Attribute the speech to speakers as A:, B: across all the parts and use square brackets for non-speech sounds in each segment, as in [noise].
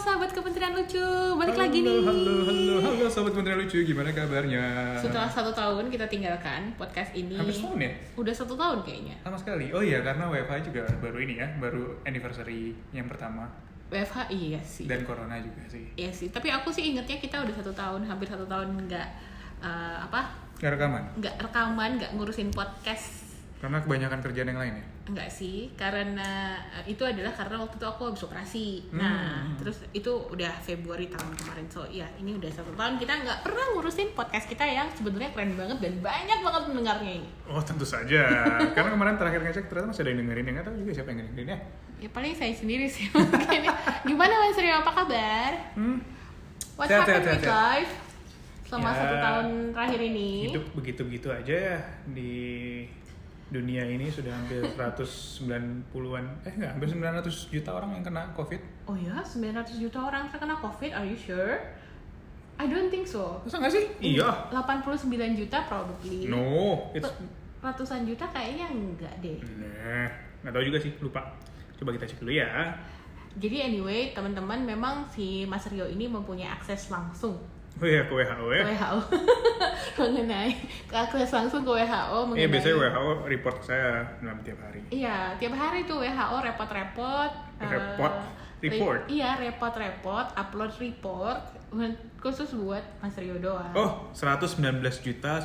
A: Kementerian Lucu balik lagi
B: halo,
A: nih.
B: Halo, halo, halo, sobat Kementerian Lucu, gimana kabarnya?
A: Setelah satu tahun kita tinggalkan podcast ini.
B: hampir setahun ya?
A: Udah satu tahun kayaknya.
B: Lama sekali. Oh iya, karena WFH juga baru ini ya, baru anniversary yang pertama
A: WFH iya sih.
B: dan corona juga sih.
A: Iya sih. Tapi aku sih ingetnya kita udah satu tahun, hampir satu tahun nggak eh, apa?
B: Gak rekaman,
A: Nggak rekaman, nggak ngurusin podcast.
B: karena kebanyakan kerjaan yang lain ya.
A: Enggak sih, karena eh, itu adalah karena waktu itu aku habis operasi.
B: Hmm.
A: Nah, terus itu udah Februari tahun kemarin. So, ya ini udah satu tahun kita nggak pernah ngurusin podcast kita yang sebenarnya keren banget dan banyak banget pendengarnya ini.
B: Oh tentu saja, [laughs] karena kemarin terakhir ngecek ternyata masih ada yang dengerin, yang nggak tahu juga siapa yang dengerin ya.
A: Ya paling saya sendiri sih [laughs] mungkin. Gimana Mas Rio, apa kabar?
B: Hmm,
A: What
B: Sehat,
A: happened
B: sehat,
A: with
B: sehat, sehat.
A: life selama
B: Ya.
A: satu tahun terakhir ini?
B: hidup begitu-begitu aja ya di dunia ini sudah hampir 190-an, eh nggak, hampir 900 juta orang yang kena COVID.
A: Oh ya, 900 juta orang terkena COVID, are you sure? I don't think so.
B: Masa nggak sih? Iya.
A: 89 juta probably.
B: No, it's
A: Ratusan juta kayaknya enggak deh.
B: Nah, nggak tahu juga sih, lupa. Coba kita cek dulu ya.
A: Jadi anyway, teman-teman memang si Mas Rio ini mempunyai akses langsung
B: Oh iya, ke WHO
A: ke
B: ya.
A: WHO [laughs] mengenai akses langsung ke WHO mengenai
B: Iya, biasanya WHO report ke saya dalam tiap hari.
A: Iya, tiap hari tuh WHO repot-repot. eh,
B: Repot?
A: re-
B: Report?
A: iya, repot-repot, upload report men- khusus buat Mas Rio doang.
B: Oh, 119 juta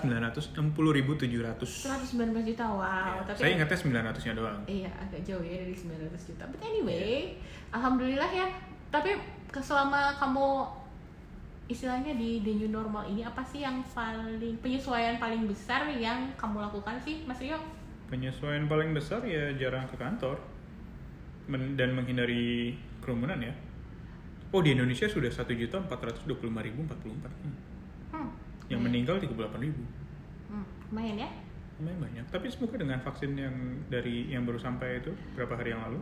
B: 960.700.
A: 119 juta, wow.
B: Ya,
A: Tapi
B: Saya ingatnya 900-nya doang.
A: Iya, agak jauh ya dari 900 juta. But
B: Iya.
A: anyway, alhamdulillah ya. Tapi ke- selama kamu istilahnya di the new normal ini apa sih yang paling penyesuaian paling besar yang kamu lakukan sih, Mas Rio?
B: Penyesuaian paling besar ya jarang ke kantor Men- dan menghindari kerumunan ya. Oh, di Indonesia sudah 1.425.044. Hmm.
A: Hmm.
B: Yang
A: lumayan.
B: meninggal 38.000.
A: Hmm, lumayan ya.
B: Lumayan banyak. Tapi semoga dengan vaksin yang dari yang baru sampai itu berapa hari yang lalu,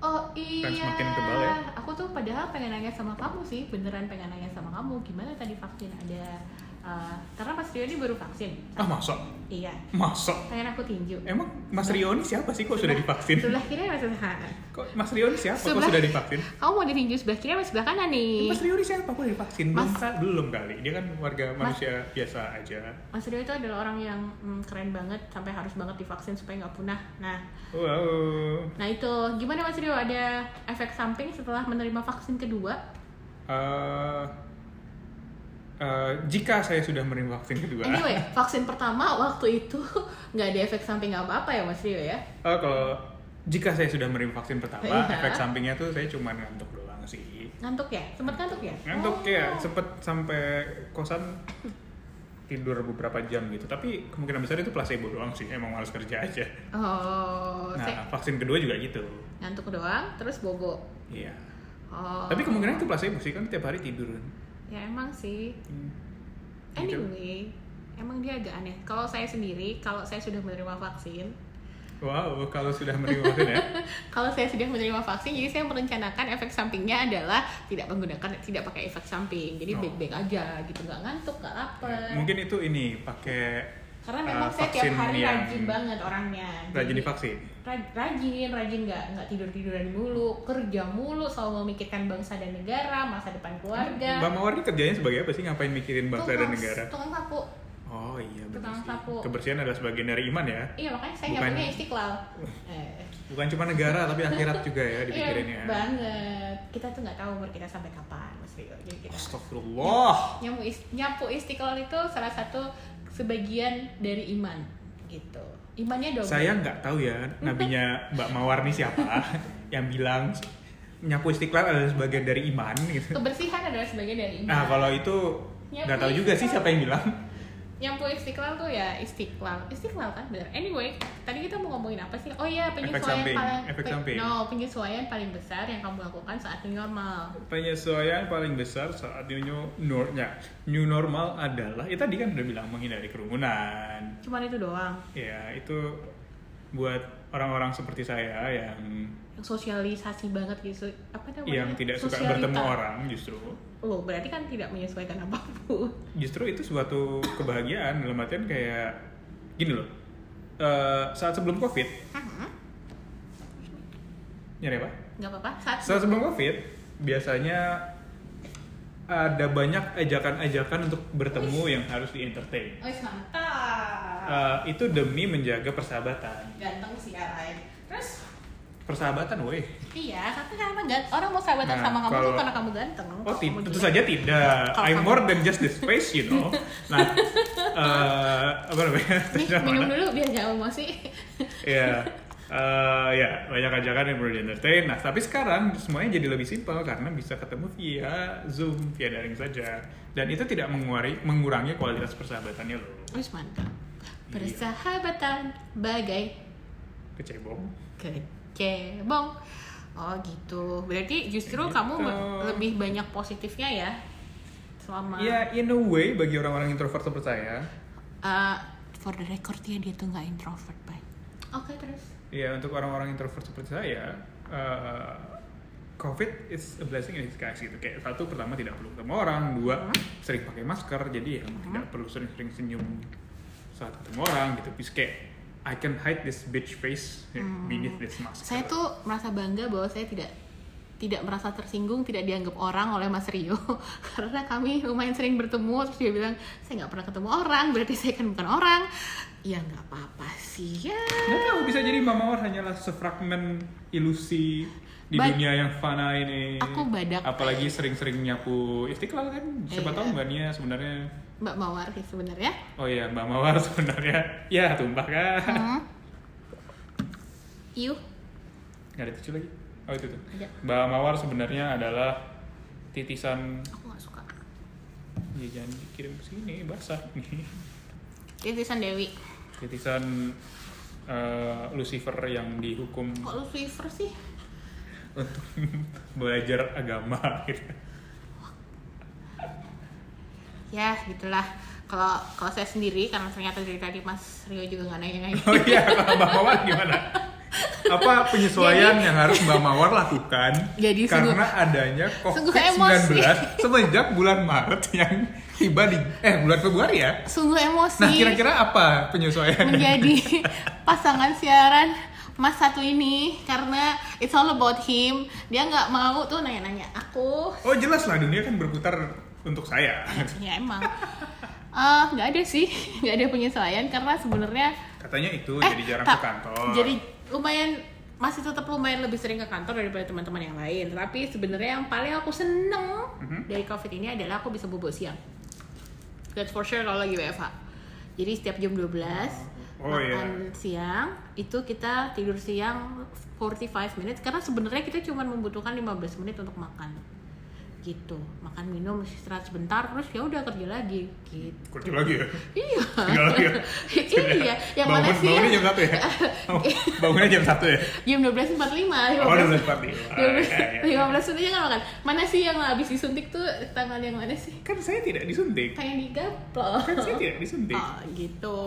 A: Oh iya.
B: semakin tebal ya.
A: Aku tuh padahal pengen nanya sama kamu sih, beneran pengen nanya sama kamu. Gimana tadi vaksin ada? eh, karena Mas Rio ini baru vaksin.
B: Ah masa?
A: Iya.
B: Masa?
A: Pengen aku tinju.
B: Emang Mas Rio ini siapa sih kok sudah divaksin?
A: Sebelah kiri Mas sebelah.
B: Kok Mas Rio ini siapa
A: Sebelah-
B: kok sudah divaksin?
A: Kamu mau ditinju sebelah kiri atau sebelah kanan nih?
B: Mas Rio ini siapa kok divaksin? Belum,
A: Mas-
B: Kak. belum kali. Dia kan warga
A: Mas-
B: manusia biasa aja.
A: Mas Rio itu adalah orang yang mm, keren banget sampai harus banget divaksin supaya nggak punah. Nah,
B: Wow.
A: nah itu gimana Mas Rio ada efek samping setelah menerima vaksin kedua?
B: Eh, eh, jika saya sudah menerima vaksin kedua,
A: Anyway, vaksin pertama waktu itu [laughs] nggak ada efek samping apa apa ya Mas Rio ya?
B: Eh, kalau jika saya sudah menerima vaksin pertama,
A: Iya.
B: efek sampingnya tuh saya cuma ngantuk doang sih.
A: Ngantuk ya? Sempat ngantuk ya?
B: ngantuk
A: Oh.
B: ya sempet sampai kosan tidur beberapa jam gitu tapi kemungkinan besar itu placebo doang sih emang harus kerja aja
A: Oh, saya
B: nah vaksin kedua juga gitu
A: ngantuk doang, terus bobo.
B: iya
A: Oh.
B: tapi kemungkinan itu placebo sih kan tiap hari tidur kan
A: ya emang sih.
B: Hmm. Gitu.
A: Anyway, emang dia agak aneh. Kalau saya sendiri, kalau saya sudah menerima vaksin,
B: wow kalau sudah menerima vaksin
A: [laughs]
B: ya
A: Kalau saya sudah menerima vaksin, jadi saya merencanakan efek sampingnya adalah tidak menggunakan, tidak pakai efek samping. Jadi
B: Oh.
A: baik-baik aja gitu, nggak ngantuk, nggak lapar.
B: mungkin itu ini pakai
A: Karena
B: eh,
A: memang saya tiap
B: vaksin
A: hari
B: yang
A: rajin banget orangnya.
B: rajin
A: Jadi,
B: divaksin
A: ra- rajin, rajin nggak nggak tidur tiduran mulu, kerja mulu, selalu memikirkan bangsa dan negara, masa depan keluarga.
B: Mbak Mawar ini kerjanya sebagai apa sih? Ngapain mikirin bangsa dan
A: Tukang-
B: negara?
A: Tukang sapu.
B: Oh iya benar
A: Tukang
B: sih.
A: sapu.
B: Kebersihan adalah sebagian dari iman ya.
A: Iya makanya saya nggak
B: Bukan-
A: punya
B: [laughs]
A: istiqlal. Eh.
B: Bukan cuma negara tapi akhirat juga ya dipikirin
A: Iya,
B: ya.
A: banget. Kita tuh nggak tahu umur kita sampai kapan, Mas Rio. Jadi kita
B: Astagfirullah.
A: nyapu, is- nyapu istiqlal itu salah satu sebagian dari iman gitu imannya double
B: Saya nggak tahu ya nabinya Mbak Mawar nih siapa [laughs] yang bilang nyapu istiqlal adalah sebagian dari iman gitu.
A: kebersihan adalah sebagian dari iman
B: Nah kalau itu nggak tahu juga sih siapa yang bilang.
A: nyapu istiqlal tuh ya istiqlal istiqlal kan bener anyway tadi kita mau ngomongin apa sih oh iya
B: Efek
A: penyesuaian
B: samping,
A: paling
B: efek
A: pe-
B: samping.
A: no penyesuaian paling besar yang kamu lakukan saat new normal
B: Penyesuaian paling besar saat new new, nor- ya, new normal adalah ya tadi kan udah bilang menghindari kerumunan.
A: cuman itu doang
B: Ya itu buat orang-orang seperti saya yang
A: yang sosialisasi banget gitu apa namanya
B: yang tidak suka
A: Sosialita.
B: bertemu orang justru.
A: loh berarti kan tidak menyesuaikan apapun [laughs]
B: justru itu suatu kebahagiaan dalam artian kayak gini loh Eh, saat sebelum covid
A: Mm-hmm.
B: nyari apa
A: nggak apa-apa saat
B: saat sebelum covid biasanya ada banyak ajakan-ajakan untuk bertemu yang harus
A: Oh,
B: di-entertain.
A: iya,
C: Wih, mantap.
B: Eh, itu demi menjaga persahabatan.
C: Ganteng sih Arai. Terus
B: Persahabatan, woi.
A: Iya, tapi karena gan- orang mau sahabatan
B: Nah,
A: sama kamu tuh
B: kalau-
A: karena kamu ganteng.
B: Oh,
A: Kalau
B: ti-
A: kamu
B: tentu
A: jelek.
B: saja tidak.
A: Kalau
B: I'm
A: kamu-
B: more than just the space, you
A: [laughs]
B: know. Nah, eh, apa namanya? [laughs]
A: Nih,
B: Tidak,
A: minum
B: mana?
A: dulu biar jangan emosi.
B: Ya, eh, ya banyak ajakan yang perlu di-entertain. Nah, tapi sekarang semuanya jadi lebih simpel karena bisa ketemu via Zoom, via daring saja. Dan itu tidak menguari, mengurangi kualitas persahabatannya loh.
A: Terus mantap. Persahabatan bagai
B: Kecebong.
A: kecebong. Oh gitu. Berarti justru
B: Kayak
A: kamu
B: gitu.
A: be- lebih banyak positifnya ya selama.
B: Ya, in a way bagi orang-orang introvert seperti saya,
A: Eh, for the record ya dia tuh nggak introvert, Bay. Oke terus.
B: ya untuk orang-orang introvert seperti saya, eh, COVID is a blessing in disguise gitu. Kayak satu pertama tidak perlu ketemu orang, dua
A: Hmm.
B: sering pakai masker, jadi ya tidak perlu sering-sering senyum saat ketemu orang gitu. Terus kayak I can hide this bitch face ya, beneath this mask.
A: Hmm. Saya tuh merasa bangga bahwa saya tidak tidak merasa tersinggung, tidak dianggap orang oleh Mas Rio [laughs] karena kami lumayan sering bertemu terus dia bilang saya nggak pernah ketemu orang berarti saya kan bukan orang ya nggak apa-apa sih ya
B: nggak tahu bisa jadi Mama Mawar hanyalah sefragmen ilusi di
A: Ba-
B: dunia yang fana ini.
A: Aku badak.
B: Apalagi sering-sering nyapu istiqlal kan.
A: Iya.
B: Siapa tahu mbak Nia sebenarnya
A: Mbak Mawar gitu, ya? sih sebenarnya
B: Oh iya, Mbak Mawar sebenarnya ya tumpah kan.
A: hmm. Iuh,
B: Nggak ada tisu lagi. Oh itu tuh.
A: Ada.
B: Mbak Mawar sebenarnya adalah titisan
A: aku nggak suka
B: ya jangan dikirim ke sini basah [laughs] nih.
A: titisan Dewi
B: Titisan eh, Lucifer yang dihukum
A: kok lu Swifer sih
B: untuk [laughs] belajar agama [laughs] gitu.
A: ya gitulah kalau kalau saya sendiri karena ternyata dari tadi Mas Rio juga nggak [laughs] nanya-nanya
B: Oh iya, kalau Mbak Mawar gimana? Apa penyesuaian yang harus Mbak Mawar lakukan
A: Jadi sungguh-
B: karena adanya
A: sungguh emosi.
B: COVID-19 semenjak bulan Maret yang tiba di eh bulan Februari ya?
A: sungguh emosi
B: Nah, kira-kira apa penyesuaian?
A: [laughs] menjadi pasangan siaran Mas satu ini karena it's all about him. Dia nggak mau tuh nanya-nanya [coughs] aku.
B: Oh, jelas lah dunia kan berputar untuk saya.
A: Ya emang. Eh, nggak ada sih, nggak ada penyesuaian karena sebenarnya
B: Katanya itu
A: eh,
B: jadi jarang
A: tak-
B: ke kantor.
A: Jadi lumayan masih tetap lumayan lebih sering ke kantor daripada teman-teman yang lain. Tapi sebenarnya yang paling aku seneng
B: Mhm.
A: dari covid ini adalah aku bisa bobo siang. That's for sure kalau lagi WFH. Jadi setiap jam 12
B: Oh, iya.
A: makan siang itu kita tidur siang 45 menit karena sebenarnya kita cuma membutuhkan 15 menit untuk makan gitu makan minum istirahat sebentar terus ya udah kerja lagi gitu
B: kerja lagi ya. [laughs]
A: iya
B: Tinggal lagi ya.
A: iya yang
B: bangun,
A: mana sih
B: bangunnya jam 1
A: [laughs]
B: ya? Oh, bangunnya jam 1 ya?
A: jam 12.45
B: Oh, udah
A: 15
B: berarti. iya,
A: 12 15 menit aja nggak makan mana sih yang habis disuntik tuh tangan yang mana sih
B: Kan saya tidak disuntik.
A: kayak digaplok
B: Kan saya tidak disuntik.
A: Oh, gitu.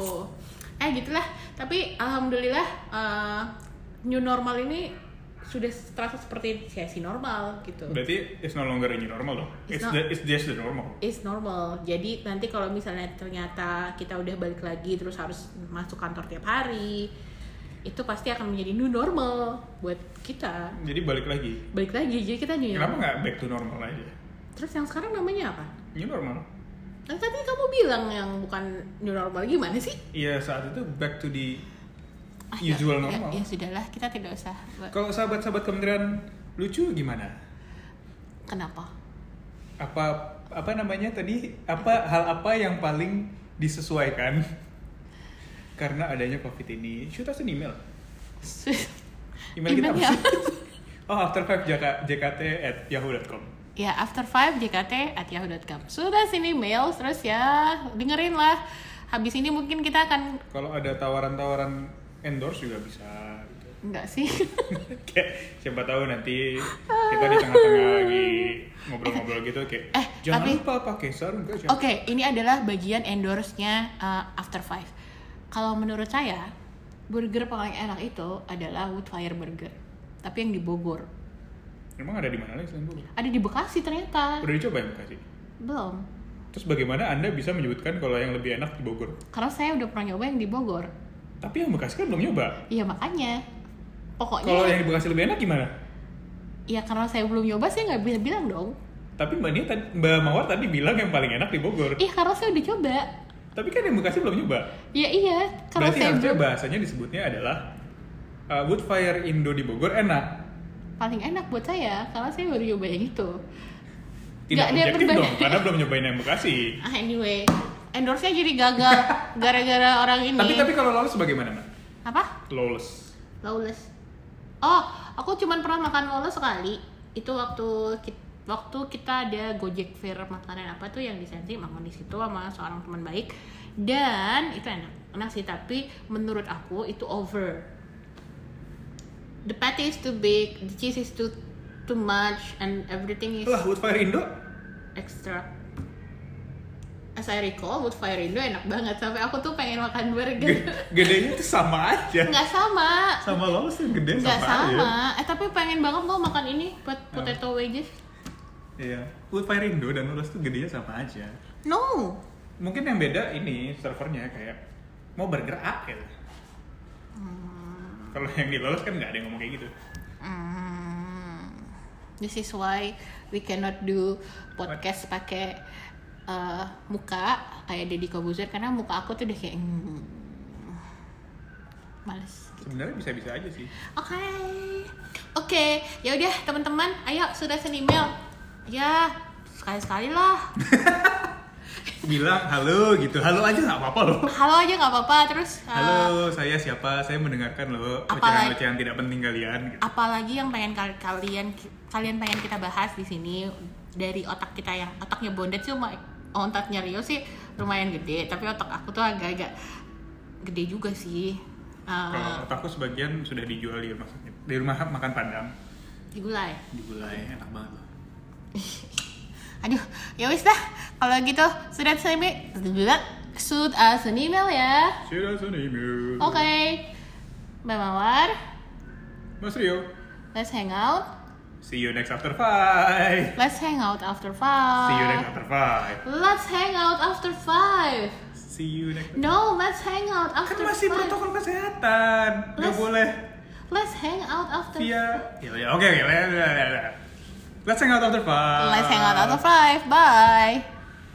A: Eh gitulah. Tapi alhamdulillah eh, new normal ini sudah terasa seperti ya, si normal gitu.
B: Berarti it's no longer a new normal dong.
A: It's
B: It's,
A: not-
B: the, it's just the normal.
A: It's normal. Jadi nanti kalau misalnya ternyata kita udah balik lagi terus harus masuk kantor tiap hari, itu pasti akan menjadi new normal buat kita.
B: Jadi balik lagi.
A: Balik lagi jadi kita new
B: Kenapa
A: normal.
B: nggak back to normal aja?
A: Terus yang sekarang namanya apa?
B: New normal.
A: Nah, tadi kamu bilang yang bukan new normal gimana sih?
B: Iya saat itu back to the
A: Ah, ya-
B: iya. usual
A: ya-
B: normal.
A: Ya, sudahlah, kita tidak usah.
B: Kalau sahabat-sahabat kementerian lucu gimana?
A: Kenapa?
B: apa apa namanya tadi apa hal apa yang paling disesuaikan karena adanya covid ini shoot us an email [laughs] email kita
A: Emailnya
B: apa sih? oh after five jk, jkt at yahoo.com
A: [laughs] ya after five jkt at yahoo.com sudah sini mail terus ya dengerin lah habis ini mungkin kita akan
B: kalau ada tawaran-tawaran endorse juga bisa gitu.
A: enggak
B: [laughs]
A: sih
B: kayak siapa tahu nanti kita di tengah-tengah lagi ngobrol-ngobrol gitu kayak
A: Eh,
B: jangan
A: tapi-
B: lupa pakai sarung guys
A: oke ini adalah bagian endorse-nya uh, after five kalau menurut saya burger paling enak itu adalah woodfire burger tapi yang di Bogor
B: emang ada di mana lagi selain Bogor?
A: ada di Bekasi ternyata
B: udah dicoba ya Bekasi
A: belum
B: terus bagaimana anda bisa menyebutkan kalau yang lebih enak di Bogor
A: karena saya udah pernah nyoba yang di Bogor
B: Tapi yang Bekasi kan belum nyoba.
A: iya makanya pokoknya Iya.
B: Kalau yang di Bekasi lebih enak gimana?
A: ya karena saya belum nyoba saya nggak bisa bilang dong
B: Tapi Mbak Nia tadi, Mbak Mawar tadi bilang yang paling enak di Bogor.
A: Iya karena saya udah coba.
B: Tapi kan yang Bekasi belum nyoba.
A: Ya iya, karena
B: Berarti
A: saya
B: harusnya
A: belum-
B: bahasanya disebutnya adalah uh, Woodfire Indo di Bogor enak.
A: paling enak buat saya karena saya baru nyoba yang itu.
B: Tidak
A: Nggak, dia
B: objektif
A: berbeda.
B: dong, karena belum nyobain yang Bekasi.
A: Ah anyway, endorse-nya jadi
B: [laughs]
A: gagal gara-gara orang ini.
B: Tapi tapi kalau lolos bagaimana, Mbak?
A: apa?
B: Lolos.
A: Lawless. Oh, aku cuman pernah makan lawless sekali. Itu waktu ki- waktu kita ada Gojek Fair makanan apa tuh yang di Sensi makan di situ sama seorang teman baik dan itu enak. Enak sih tapi menurut aku itu over. The patty is too big, the cheese is too too much and everything is
B: Lah, Woodfire Indo?
A: extra. As I recall, Woodfire Indo enak banget sampai aku tuh pengen makan
B: Ge-
A: burger.
B: Gedenya itu sama aja.
A: Nggak sama,
B: Sama lolos yang gede
A: Nggak
B: sama, aja.
A: sama. Eh tapi pengen banget lo makan ini buat potato wedges.
B: Iya. Woodfire Indo dan lolos tuh gedenya sama aja.
A: No.
B: Mungkin yang beda ini servernya kayak mau bergerak gitu. Kalau yang di lolos kan nggak ada yang ngomong kayak gitu.
A: Hmm. This is why we cannot do podcast pakai eh, muka kayak Deddy Kobuzer karena muka aku tuh udah kayak hmm, males.
B: Sebenarnya bisa-bisa aja sih.
A: Oke. Oke, ya udah teman-teman, ayo sudah seni mail. Ya, sekali-sekali lah.
B: Bilang halo gitu. Halo aja nggak apa-apa loh.
A: Halo aja nggak apa-apa terus eh,
B: Halo, saya siapa? Saya mendengarkan loh
A: Apa-
B: ocehan-ocehan tidak penting kalian. Gitu.
A: apalagi yang pengen kal- kalian kalian pengen kita bahas di sini dari otak kita yang otaknya bondet sih cuma otaknya Rio sih lumayan gede tapi otak aku tuh agak-agak gede juga sih
B: Kalau
A: Eh,
B: otakku sebagian sudah dijual di rumah sakit. Di rumah makan padang.
A: digulai
B: Digulai enak banget. loh.
A: aduh ya wis dah kalau gitu sudah semi sud as an email ya
B: Sudah sini. Mil.
A: oke Mbak Mawar
B: Mas Rio,
A: let's hang out
B: see you next after five.
A: let's hang out after Ah.
B: See you next
A: five
B: after five.
A: let's hang out after five
B: See you next.
A: No, let's hang out
B: Kan
A: after
B: masih
A: five.
B: protokol kesehatan. Gak
A: Mas-
B: boleh
A: Let's hang out after
B: via. Ya ya, oke oke. Let's hang out after five.
A: Let's hang out after five. Bye.